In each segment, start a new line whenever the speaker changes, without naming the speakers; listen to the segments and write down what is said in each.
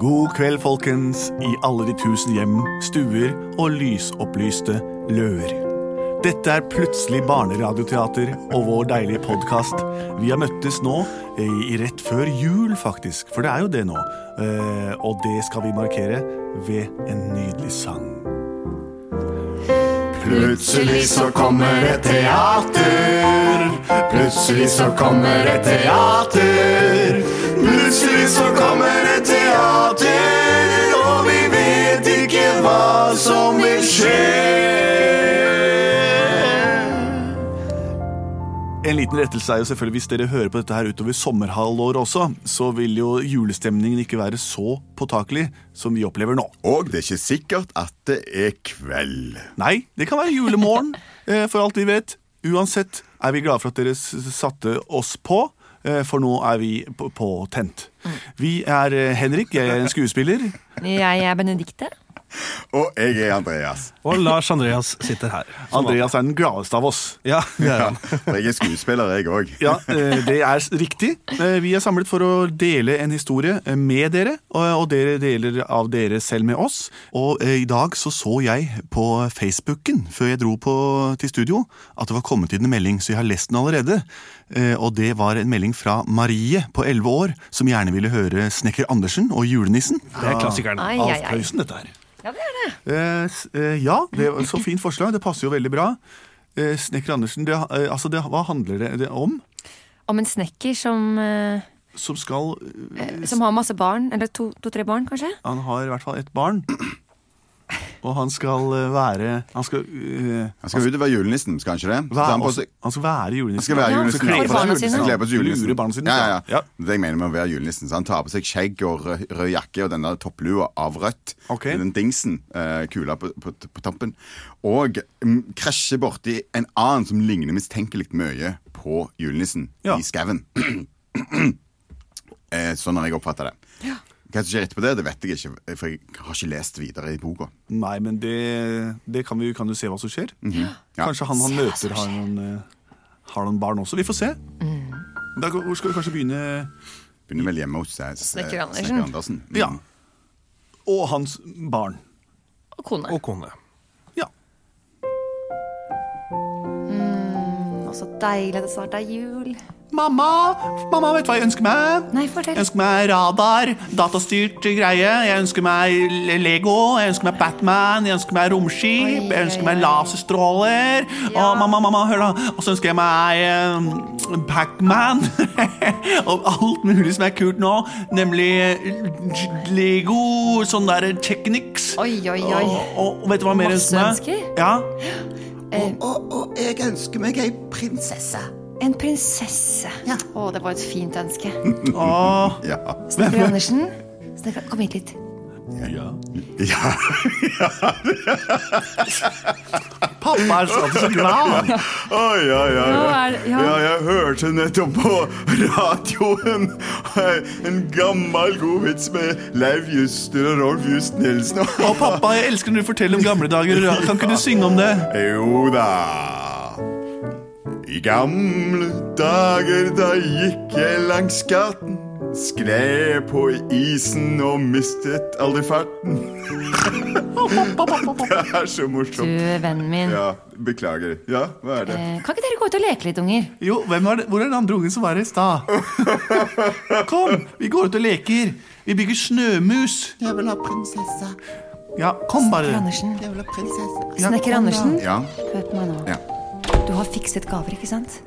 God kveld, folkens, i alle de tusen hjem, stuer og lysopplyste løer. Dette er plutselig barneradioteater og vår deilige podkast. Vi har møttes nå eh, i rett før jul, faktisk, for det er jo det nå. Eh, Og det skal vi markere ved en nydelig sang.
Plutselig så kommer et teater. Plutselig så kommer et teater. Plutselig så kommer et teater, og vi vet ikke hva som vil skje.
En liten rettelse er jo selvfølgelig Hvis dere hører på dette her utover sommerhalvåret også, så vil jo julestemningen ikke være så påtakelig som vi opplever nå.
Og det er ikke sikkert at det er kveld.
Nei, det kan være julemorgen, eh, for alt vi vet. Uansett er vi glade for at dere s- satte oss på, eh, for nå er vi på- på tent. Vi er eh, Henrik, jeg er en skuespiller.
Jeg er Benedikte.
Og jeg er Andreas.
Og Lars Andreas sitter her. Som
Andreas er den gladeste av oss.
vanlig. Ja, det er
Ja,
han.
for jeg er skuespiller, jeg òg.
Ja, eh, det er s- riktig. Eh, Vi er samlet for å dele en historie eh, med dere, og og dere deler av dere selv med oss. Og eh, i dag så så jeg på Facebooken før jeg dro på, til studio at det var kommet inn en melding, så jeg har lest den allerede. Eh, Og det var en melding fra Marie på 11 år, som gjerne ville høre Snekker Andersen og julenissen.
Det er klassikeren.
Ai, ai, ai.
Alfhausen, dette her.
Ja, det er det.
Eh, s- eh, ja, det var så fint forslag. Det passer jo veldig bra. Eh, Snekker Andersen, det, eh, altså det, hva handler det- det om?
Om en snekker som, eh,
Som skal
Mm.
som har masse barn. Eller to-tre barn, kanskje.
Han har i hvert fall ett barn. Og han skal eh, være Han skal, eh,
Han skal ut og være julenissen, skal han ikke det? Så
være,
han på seg-
han skal være julenissen.
Han skal være
Ja,
julenissen.
for
Han
barna sine.
Han kler på seg julenissen.
Lure barna sine,
Ja, ja,
ja.
ja. Det er det jeg mener med å være julenissen. Så han tar på seg skjegg og rød, rød jakke og den der topplua av rødt.
Ok.
Med Den dingsen, eh, kula på, på, på tampen. Og mm, krasjer borti en annen som ligner mistenkelig mye på julenissen
Ja.
i skauen. eh, sånn har jeg oppfatta det. Hva som skjer etterpå det, det vet jeg ikke, for jeg har ikke lest videre i boka.
Nei, men det, det kan, vi, kan du se hva som skjer.
Mhm. Ja.
Kanskje han han møter, har noen, eh, har noen barn også. Vi får se. Da, hvor skal vi kanskje begynne
Begynner vel hjemme hos eh, s-
Snekker Andersen.
Snekker Andersen. Mm.
Ja. Og hans barn.
Og kone.
Og kone.
Ja.
Og så deilig at det snart er jul.
Mamma! Mamma, vet du hva jeg ønsker meg?
Nei, fortell.
Jeg ønsker meg radar, datastyrt greie. Jeg ønsker meg le- Lego, jeg ønsker meg Batman, jeg ønsker meg
Oi,
romskip, jeg
oi,
ønsker meg
oi.
laserstråler.
Ja.
Og mamma, mamma, hør da. Og så ønsker jeg meg eh, Pac-Man. og alt mulig som er kult nå, nemlig eh, Lego, sånn derre Technics.
Oi, oi, oi.
Og, og, og vet du hva mer jeg
Masse
ønsker meg?
ønsker.
Ja,
Og, og jeg ønsker meg ei prinsesse.
Eh, En prinsesse. Å, det var et fint ønske.
Mm.
og...
Ja.
Snekker Andersen, snekker, kom hit litt.
ja.
Pappa er alltid så glad.
Å, ja, ja,
Nå
ja.
er det- ja.
ja, jeg hørte nettopp på radioen en gammel god vits med Leiv Juster og Rolf Just Nilsen.
Å, pappa, jeg elsker når du forteller om gamle dager. Kan ikke du synge om det?
Jo da. I gamle dager da gikk jeg langs gaten. Skled på isen og mistet aldri farten. Det er så
Du,
morsomt.
vennen min.
Ja, beklager. Ja, hva er det?
Eh, Kan ikke dere gå ut og leke litt, unger?
Jo, hvem er det? Hvor er den andre ungen som var her i stad? Kom, vi går ut og leker. Vi bygger snømus.
Jeg vil ha prinsesse.
Ja, kom
Snekker
bare.
Andersen,
Jeg vil ha prinsesse.
snekker Andersen
Ja,
hør på meg nå.
Ja.
Du har fikset gaver, ikke sant?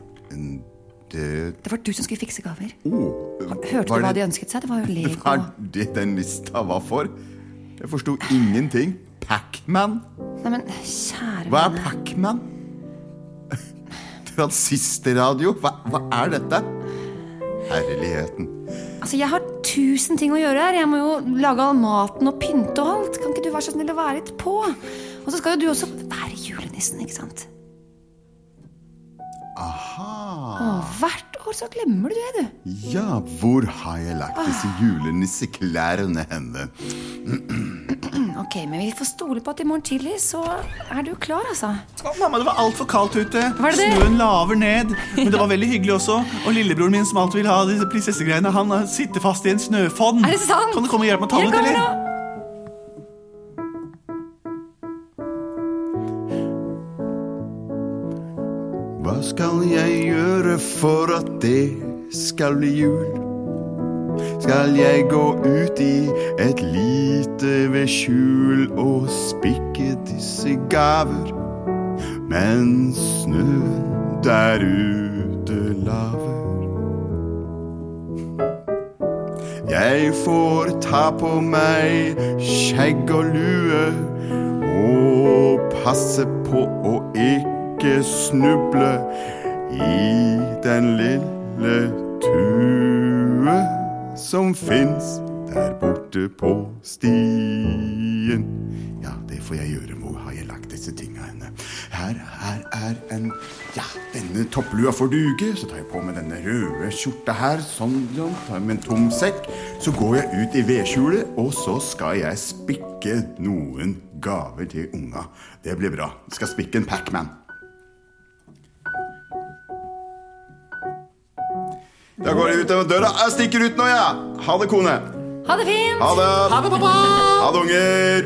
det
Det var du som skulle fikse gaver.
Eh, oh,
Hørte du hva de ønsket seg? Det var jo
Hva
Lego.
er det den lista var for? Jeg forsto ingenting. Pacman?
Nei, men kjære
Hva er
vene.
Pacman? Transisterradio? Hva, hva er dette? Herligheten.
Altså, jeg har tusen ting å gjøre her. Jeg må jo lage all maten og pynte og alt. Kan ikke du være så snill å være litt på? Og så skal jo du også være julenissen, ikke sant?
Aha.
Og hvert år så glemmer du det, du.
Ja, hvor har jeg lagt disse julenisseklærne henne?
Mm, Ok,
Ok, men vi får stole på at i morgen tidlig så er du klar, altså.
Å, mamma, det var altfor kaldt ute.
Var det det?
Snøen laver ned. Men det var veldig hyggelig også. Og lillebroren min som alltid vil ha disse prinsessegreiene, han eh, sitter fast i en snøfonn.
Er det sant?
Kan du komme og hjelpe meg å ta
Jeg
den ut,
kommer
eller?
nå.
Hva skal jeg gjøre for at det skal bli jul? Skal jeg gå ut i et lite vedskjul og spikke disse gaver? Men snøen der ute laver. Jeg får ta på meg skjegg og lue og passe på å ikke snuble i den lille tue som fins der borte på stien. Ja, det får jeg gjøre. Hvor har jeg lagt disse tinga henne? Her, her er en Ja, denne topplua får duge. Så tar jeg på meg denne røde skjorta her. Sånn, sånn. Tar med en tom sekk. Så går jeg ut i vedskjulet, og så skal jeg spikke noen gaver til unga. Det blir bra. Skal spikke en Pacman. Da går jeg ut gjennom døra. Jeg stikker ut nå, jeg. Ja. Ha det, kone.
Ha det fint!
Ha det. Ha det, pappa. Ha det, unger.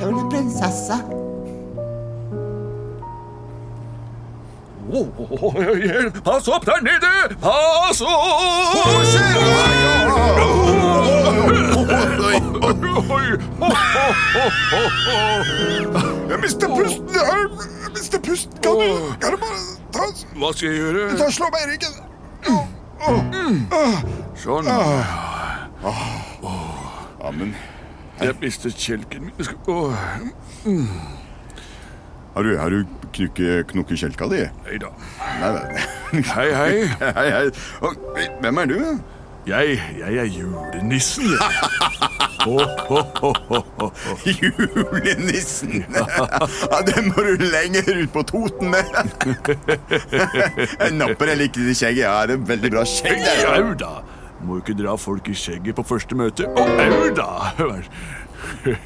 Gamle prinsesse.
Oi, oi, oi, Pass opp der nede! Pass opp!
Jeg mister pusten. Jeg har- jeg mister pusten. Kan du, kan du bare ta,
Hva skal jeg
ta
gjøre?
slå meg i ryggen?
Sånn.
Ah.
Ah.
Amen.
Jeg mistet kjelken min. Skal- Åh,
Har du, har du knukke, knukke kjelka di?
Nei da.
Nei, nei.
Hei, hei.
Hei, hei. Og, Hvem er du? da?
Jeg, jeg er julenissen. jeg.
Julenissen! Ja, den må du lenger ut på Toten med! Jeg napper jeg liker det skjegget. Jeg har en veldig bra skjegg. der.
Au da! Må ikke dra folk i skjegget på første møte. Å, au da!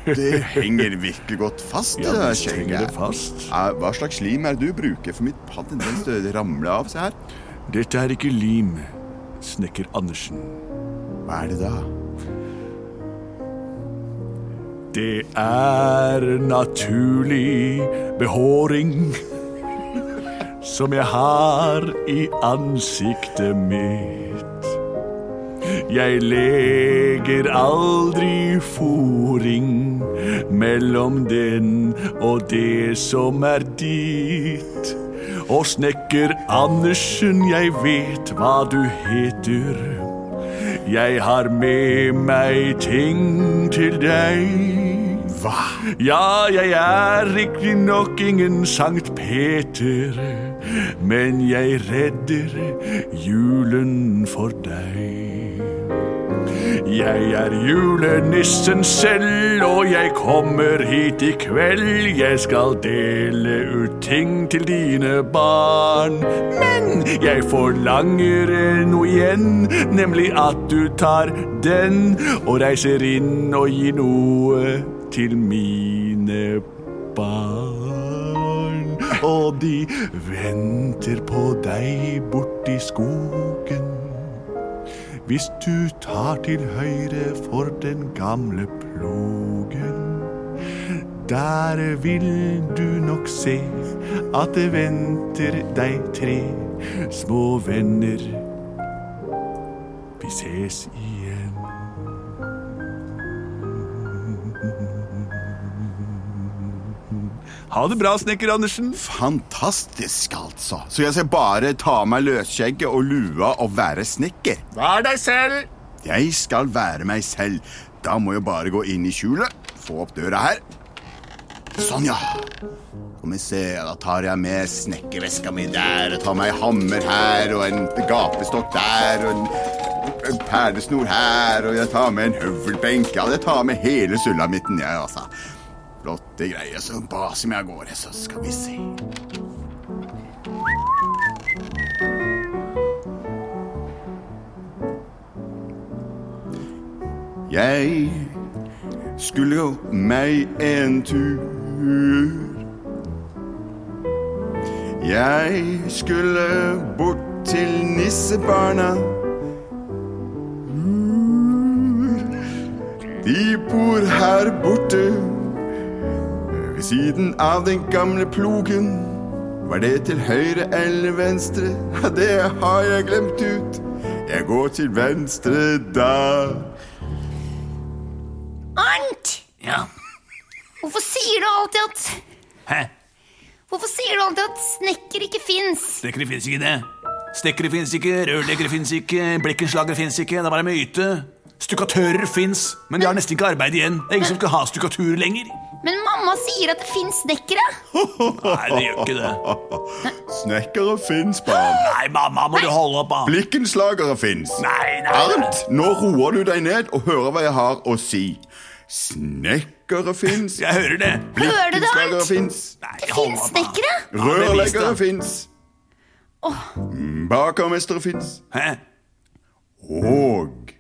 Det henger virkelig godt fast.
Ja,
det der
visst henger det
skjegget.
fast.
Ja, Hva slags slim er det du bruker for mitt padd? Den stø- ramler av. Se her.
Dette er ikke lim, snekker Andersen.
Hva er det da?
Det er naturlig behåring som jeg har i ansiktet mitt. Jeg leger aldri foring mellom den og det som er ditt. Og snekker Andersen, jeg vet hva du heter. Jeg har med meg ting til deg. Hva? Ja, jeg er riktignok ingen Sankt Peter, men jeg redder julen for deg. Jeg er julenissen selv, og jeg kommer hit i kveld. Jeg skal dele ut ting til dine barn. Men jeg forlanger noe igjen, nemlig at du tar den og reiser inn og gir noe til mine barn. Og de venter på deg borti skogen. Hvis du tar til høyre for den gamle plogen Der vil du nok se at det venter deg tre små venner Vi ses igjen Ha det bra, snekker Andersen.
Fantastisk, altså. Så jeg skal bare ta av meg løsskjegget og lua og være snekker?
Vær deg selv.
Jeg skal være meg selv. Da må jeg bare gå inn i skjulet, få opp døra her. Sånn, ja. Skal vi se, da tar jeg med snekkerveska mi der, og tar meg hammer her, og en gapestokk der, og en, en perlesnor her, og jeg tar med en høvelbenk. Ja, jeg tar med hele sulamitten, jeg, altså. Flotte greier. Så baser vi av gårde, så skal vi se. Jeg skulle gå meg en tur. Jeg skulle bort til nissebarna. De bor her borte ved siden av den gamle plogen. Var det til høyre eller venstre? Ja, det har jeg glemt ut. Jeg går til venstre da.
Arnt!
Ja.
Hvorfor sier du alltid at
Hæ?
Hvorfor sier du alltid at snekker ikke fins?
Dekkere fins ikke det. Stekkere fins ikke, rørleggere fins ikke, blikkenslagere fins ikke. Det er bare myte. Stukkatører fins, men de har nesten ikke arbeid igjen. Det er ingen som skal ha stukkatur lenger.
Men mamma sier at det fins snekkere.
Nei, det gjør ikke det.
Snekkere fins, barn.
Nei, mamma, må du holde opp, da.
Blikkenslagere fins.
Nei, nei, nei.
Arnt, nå roer du deg ned og hører hva jeg har å si. Snekkere fins.
Jeg hører det.
Hører du det,
Blikkenslagere
Arnt?
fins.
Nei,
Det
hold opp,
fins
da.
snekkere.
Rørleggere fins. Bakermestere fins.
Hæ?
Og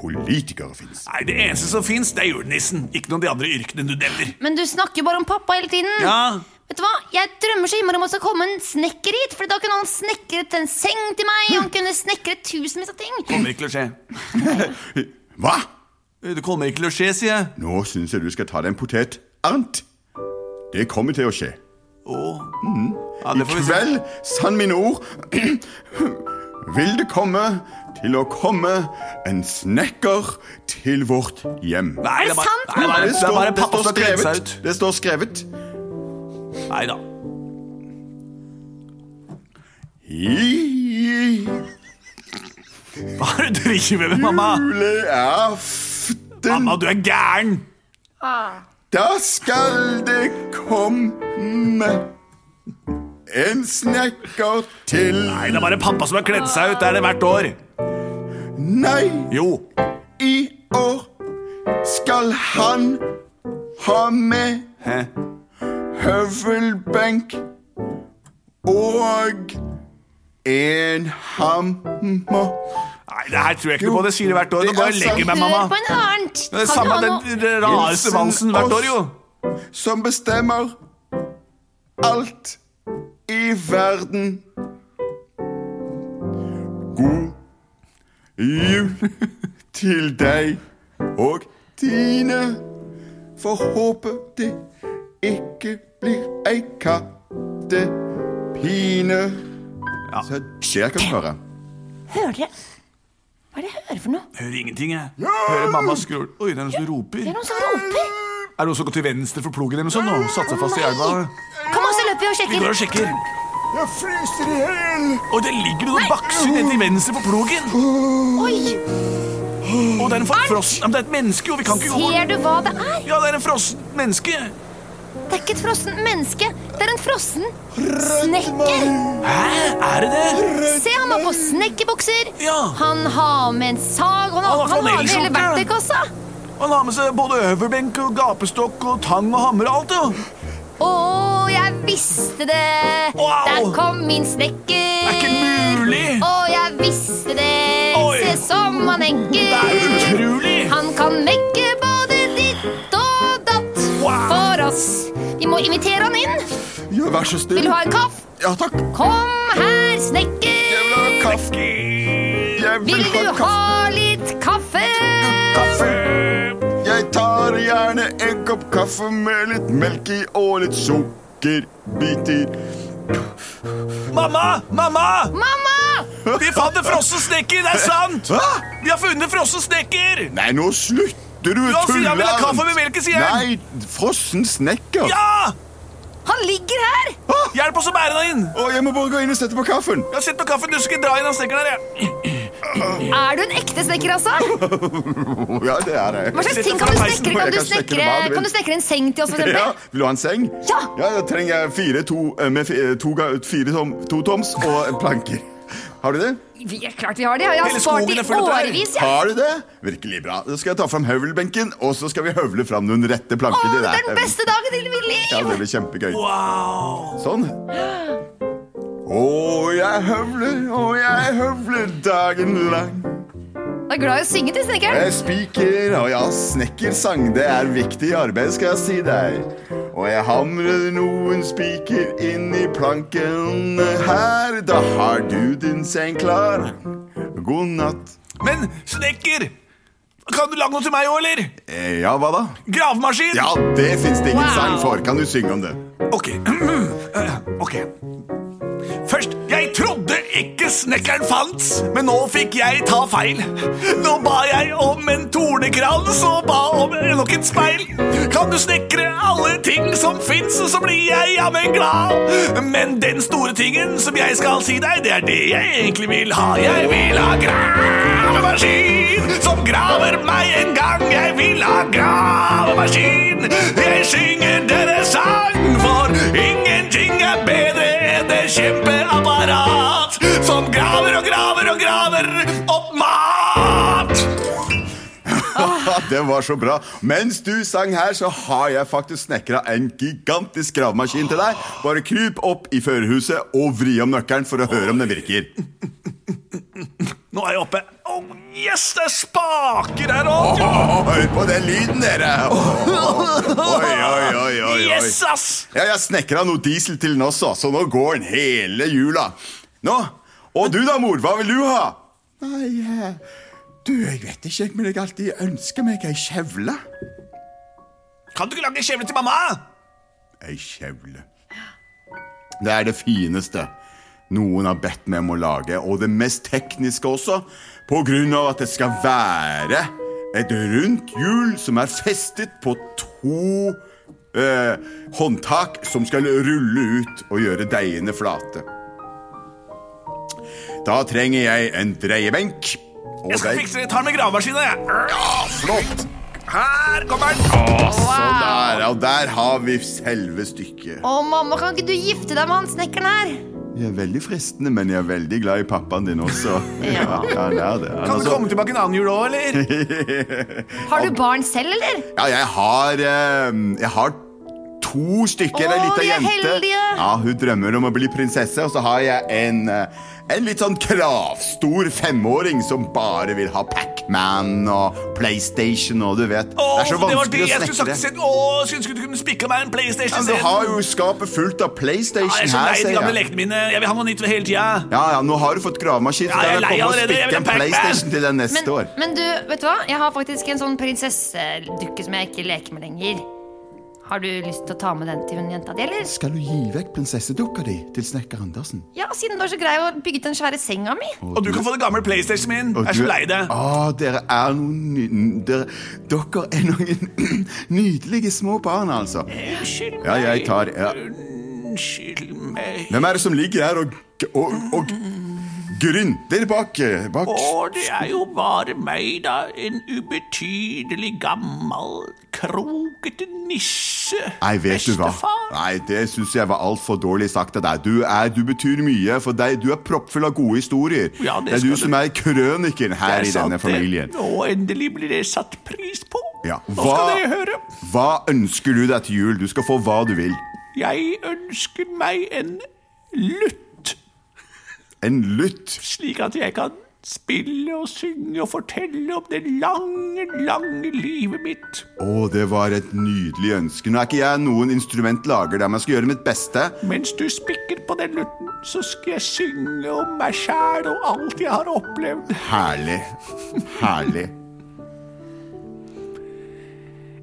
politikere fins.
Nei, det eneste som fins, det er julenissen. Ikke noen av de andre yrkene du nevner.
Men du snakker bare om pappa hele tiden.
Ja.
Vet du hva? Jeg drømmer så innmari om at det skal komme en snekker hit. For da kunne han snekret en seng til meg, og han kunne snekret tusenvis av ting.
Kommer ikke til å skje.
Hva?
Det kommer ikke til å skje, sier jeg.
Nå syns jeg du skal ta deg en potet, Arnt. Det kommer til å skje.
Åh. Ja,
I
det får vi se.
kveld, sann mine ord, vil det komme til å komme en snekker til vårt hjem.
Nei,
Er det
bare-
sant?
Nei, det er bare, det er bare
det
pappa
står
som har dreit seg
skrevet.
ut.
Det står skrevet.
Nei da.
I
Hva er det du driver med, mamma?
juleaften,
Mamma, du er gæren!
da skal det komme en snekker til
Nei, det er bare pappa som har kledd seg ut. Det er det hvert år.
Nei,
Jo.
i år skal han ha med
Hæ?
høvelbenk og en hammer.
Nei, det her tror jeg ikke på. Det sier det hvert år. Nå
Det
går
er
jeg og legger
sant.
meg,
Hør på
mamma.
en Arnt.
Det er
Kan
samme
ikke ha noe-
den rareste
Hilsen
valsen hvert år, jo.
Som bestemmer alt i verden. God jul til deg og dine. Får håpe det ikke blir ei kattepine.
Ja.
Så skjer kan du høre.
Hører dere? Hva er det jeg hører for noe?
Hører ingenting, jeg. Hører mamma skrur. Oi, det er noen som roper.
Det er
Er
noen som roper.
det noen som går til venstre for plogen eller noe sånt? nå? Satt seg fast i elva?
Kom, og så løper vi og
Vi går
sjekker.
og sjekker.
Jeg fryser i hjel!
Og der ligger det noen bakser nede til venstre for plogen.
Oi,
Og det er en frossen... Ja, men det er et menneske, jo. Vi kan ikke gå
Ser du hva det er?
Ja, det er en frossen menneske.
Det er ikke et frossen menneske. Det er en frossen snekker.
Hæ? Er det det?
Se, han har på snekkerbukser.
Ja.
Han har med en sag. Han har,
Han har
han har med hele
flanellskjorte.
verktøykassa.
Han har med seg både øverbenk og gapestokk og tang og hammer og alt, ja.
Å, jeg visste det!
Wow.
Der kom min snekker.
Det er ikke mulig!
Å, jeg visste det.
Oi.
Se som han enker.
Det er utrolig!
Han kan mekke både ditt og datt
Wow.
for oss. Vi må invitere han inn.
Ja, vær så snill.
Vil du ha en kaff?
Ja, takk.
Kom her, snekker.
Jeg vil ha kaffe. Jeg
Vil
vil ha
du
kaffe.
ha litt kaffe?
kaffe. Jeg tar gjerne en kopp kaffe med litt melk i og litt sukkerbiter.
Mamma! Mamma!
Mamma!
Vi fant en frossen snekker, det er sant!
Hæ?
Vi har funnet en frossen snekker!
Nei, nå slutter du,
Ja, sier jeg vil ha
Arnt.
kaffe med melk i, sier jeg.
Nei, frossen snekker.
Ja!
Han ligger her!
Hjelp oss å bære den inn!
Å, jeg må bare gå inn og sette på kaffen.
Jeg har sett på kaffen, du skal ikke dra inn han snekkeren her, jeg.
Er du en ekte snekker, altså?
Å, ja, det er det.
Hva slags ting kan du snekre? Kan du
Jeg kan snekre
snekre,
hva du vil.
kan du snekre en seng til oss, for
Ja,
eksempel?
vil du ha en seng?
Ja.
Ja, Da trenger jeg fire, to, eh, med fi- eh, to, ga- fire tom, to toms og en planker. Har du det?
Vi er klart vi har det. Jeg har
Hele
spart
skogen
i
er full av trær.
årevis. jeg.
Har du det? Virkelig bra. Da skal jeg ta fram høvelbenken, og så skal vi høvle fram noen rette
Å,
planker. til
det
deg.
er den beste dagen i mitt liv!
Ja, det blir kjempegøy.
Wow!
Sånn. Å, jeg høvler, og jeg høvler dagen lang.
Du er glad i å synge til snekkeren.
Jeg er spiker, og jeg snekker sang. Det er viktig arbeid, skal jeg si deg. Og jeg hamrer noen spiker inn i plankene her. Da har du din seng klar. God natt.
Men snekker! Kan du lage noe til meg òg, eller?
Eh, Ja, hva da?
Gravemaskin!
Ja, det fins det ingen
Wow.
sang for. Kan du synge om det?
Ok. Eh, ok. Først, jeg trodde ikke snekkeren fantes, men nå fikk jeg ta feil. Nå ba jeg om en tornekrans og ba om nok et speil. Kan du snekre alle ting som fins, så blir jeg jammen glad. Men den store tingen som jeg skal si deg, det er det jeg egentlig vil ha. Jeg vil ha gravemaskin som graver meg en gang. Jeg vil ha gravemaskin. Jeg synger deres sang, for ingenting er bedre enn det kjempeapparat som graver og graver og graver opp mat.
Det var så bra. Mens du sang her, så har jeg faktisk snekra en gigantisk gravemaskin til deg. Bare kryp opp i førerhuset og vri om nøkkelen for å høre om den virker.
Nå er jeg oppe. Oh, yes, det er spaker her òg.
Åh, Hør på den lyden, dere! Åh, Oi, oi, oi, oi, oi.
Yes, ass!
Ja, jeg snekra noe diesel til den også, så nå går den hele jula. Nå, Og du da, mor? Hva vil du ha? Nei, eh, du, jeg vet ikke, men jeg alltid ønsker meg ei kjevle.
Kan du ikke lage kjevle til mamma?
Ei kjevle. Det er det fineste noen har bedt meg om å lage, og det mest tekniske også, på grunn av at det skal være et rundt hjul som er festet på to eh, håndtak som skal rulle ut og gjøre deigene flate. Da trenger jeg en dreiebenk. Og
Jeg skal
der-
fikse det. Jeg tar med gravemaskina, jeg.
Flott!
Her kommer den.
Sånn der, og der har vi selve stykket.
Å, mamma, kan ikke du gifte deg med han snekkeren her?
Jeg er veldig fristende, men jeg er veldig glad i pappaen din også.
Ja.
ja, det er det.
Kan du komme tilbake en annen jul òg, eller?
Har du barn selv, eller?
Ja, jeg har, eh, jeg har to stykker.
Åh,
en lita
vi er
jente.
heldige.
Ja, Hun drømmer om å bli prinsesse, og så har jeg en, eh, en litt sånn kravstor femåring som bare vil ha Pac-Man og PlayStation og du vet.
Åh,
det er så
det var det
vanskelig
jeg
å
skulle sagt
snekre.
siden. Åh, skulle ønske du kunne spikka meg en
Ja,
PlayStation
men du
isteden.
har jo skapet fullt av
Ja,
PlayStation
jeg er så
her,
lei de gamle
ser jeg.
lekene mine. Jeg vil ha noe nytt hele tida.
Ja, ja, Nå har du fått gravemaskin. så
Ja, jeg er
kan
lei
komme og
allerede. Jeg vil
spikke
ha
en
Pac-Man.
PlayStation til deg neste
Men,
år.
men du, vet du hva? Jeg har faktisk en sånn prinsessedukke som jeg ikke leker med lenger. Har du lyst til å ta med den til hun jenta di, eller?
Skal du gi vekk prinsessedukka di til snekker Andersen?
Ja, siden du er så grei og bygget den svære senga mi.
Og du kan få den gamle PlayStation min. Jeg
Og
er
du
så lei det.
Å, dere er noen ny- dere, dere er noen nydelige små barn, altså.
Unnskyld meg.
Ja, jeg tar ja.
Unnskyld meg.
Hvem er det som ligger her og, og, og grynter bak, bak
Å, det er jo bare meg, da. En ubetydelig gammel, krokete nisse.
Nei, vet du hva?
Bestefar.
Nei, Det syns jeg var altfor dårlig sagt av deg. Du, er, du betyr mye for deg. Du er proppfull av gode historier.
Ja, det
er
skal
du
du.
som er krønikeren
Jeg
her i
sa
denne
det.
familien.
Og endelig blir det satt pris på.
Ja,
Nå skal
hva-
dere høre.
Hva ønsker du deg til jul? Du skal få hva du vil.
Jeg ønsker meg en lutt,
En lutt.
slik at jeg kan spille og synge og fortelle om det lange, lange livet mitt.
Å, det var et nydelig ønske. Nå er ikke jeg noen instrumentlager der, men jeg skal gjøre mitt beste.
Mens du spikker på den lutten, så skal jeg synge om meg sjæl og alt jeg har opplevd.
Herlig. Herlig.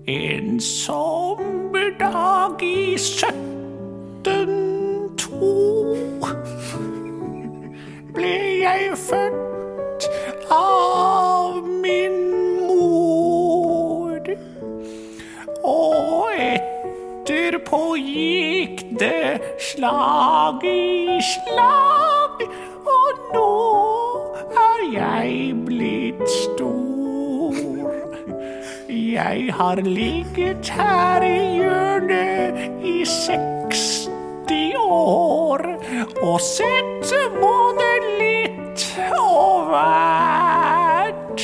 En sommerdag i 1702 ble jeg født av min mor. Og etterpå gikk det slag i slag, og nå er jeg blitt stor. Jeg har ligget her i hjørnet i 60 år og sett både litt og hvert.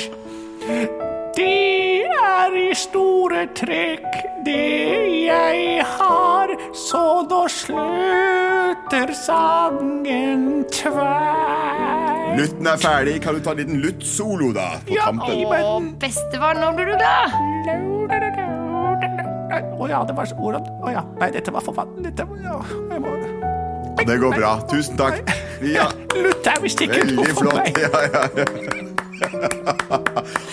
Det er i store trekk det jeg har, så da slutter sangen tvert.
Lutten er ferdig. Kan du ta en liten lutt-solo, da? På tampen.
Å, bestefar, nå blir du glad!
Å ja, det var så Hvordan Å ja. Nei, dette var forfatteren. Dette var ja, jeg må...
Det går bra. Tusen takk. Vi har
Lutt er visst ikke noe
Veldig
for
flott.
meg.
Ja, ja, ja.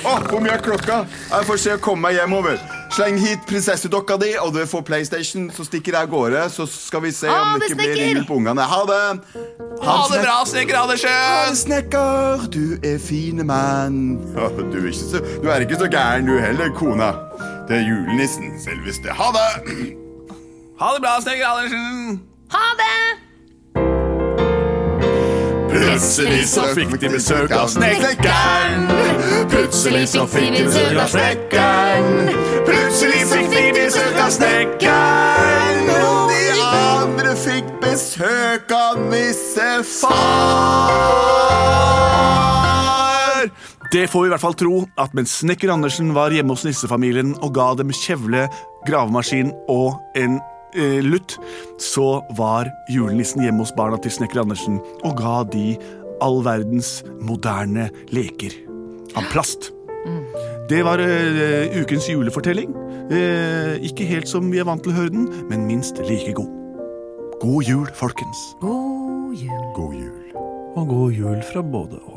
Åh, hvor mye er klokka? Jeg får se å komme meg hjemover. Sleng hit prinsessedokka di, og du får PlayStation, så stikker jeg av gårde. Så skal vi se
Ha
om det
det,
ikke blir
snekker!
jul på ungene. Ha det!
Ha det bra, snekker Andersen.
Snekker, du er fine mann. Ja, Du er, ikke så, du er ikke så gæren, du heller, kona. Det er julenissen, selveste. Ha det!
Ha det bra, snekker Andersen.
Ha det!
Plutselig så fikk de besøk av snekkeren. Plutselig så fikk de besøk av snekkeren. Plutselig fikk de besøk av snekkeren. Og de andre fikk besøk av nissefar.
Det får vi i hvert fall tro at mens snekker Andersen var hjemme hos nissefamilien og ga dem kjevle, gravemaskin og en eh, lutt, så var julenissen hjemme hos barna til snekker Andersen og ga de all verdens moderne leker av plast. Det var eh, ukens julefortelling. Eh, ikke helt som vi er vant til å høre den, men minst like god. God jul, folkens.
Og god jul fra både oss.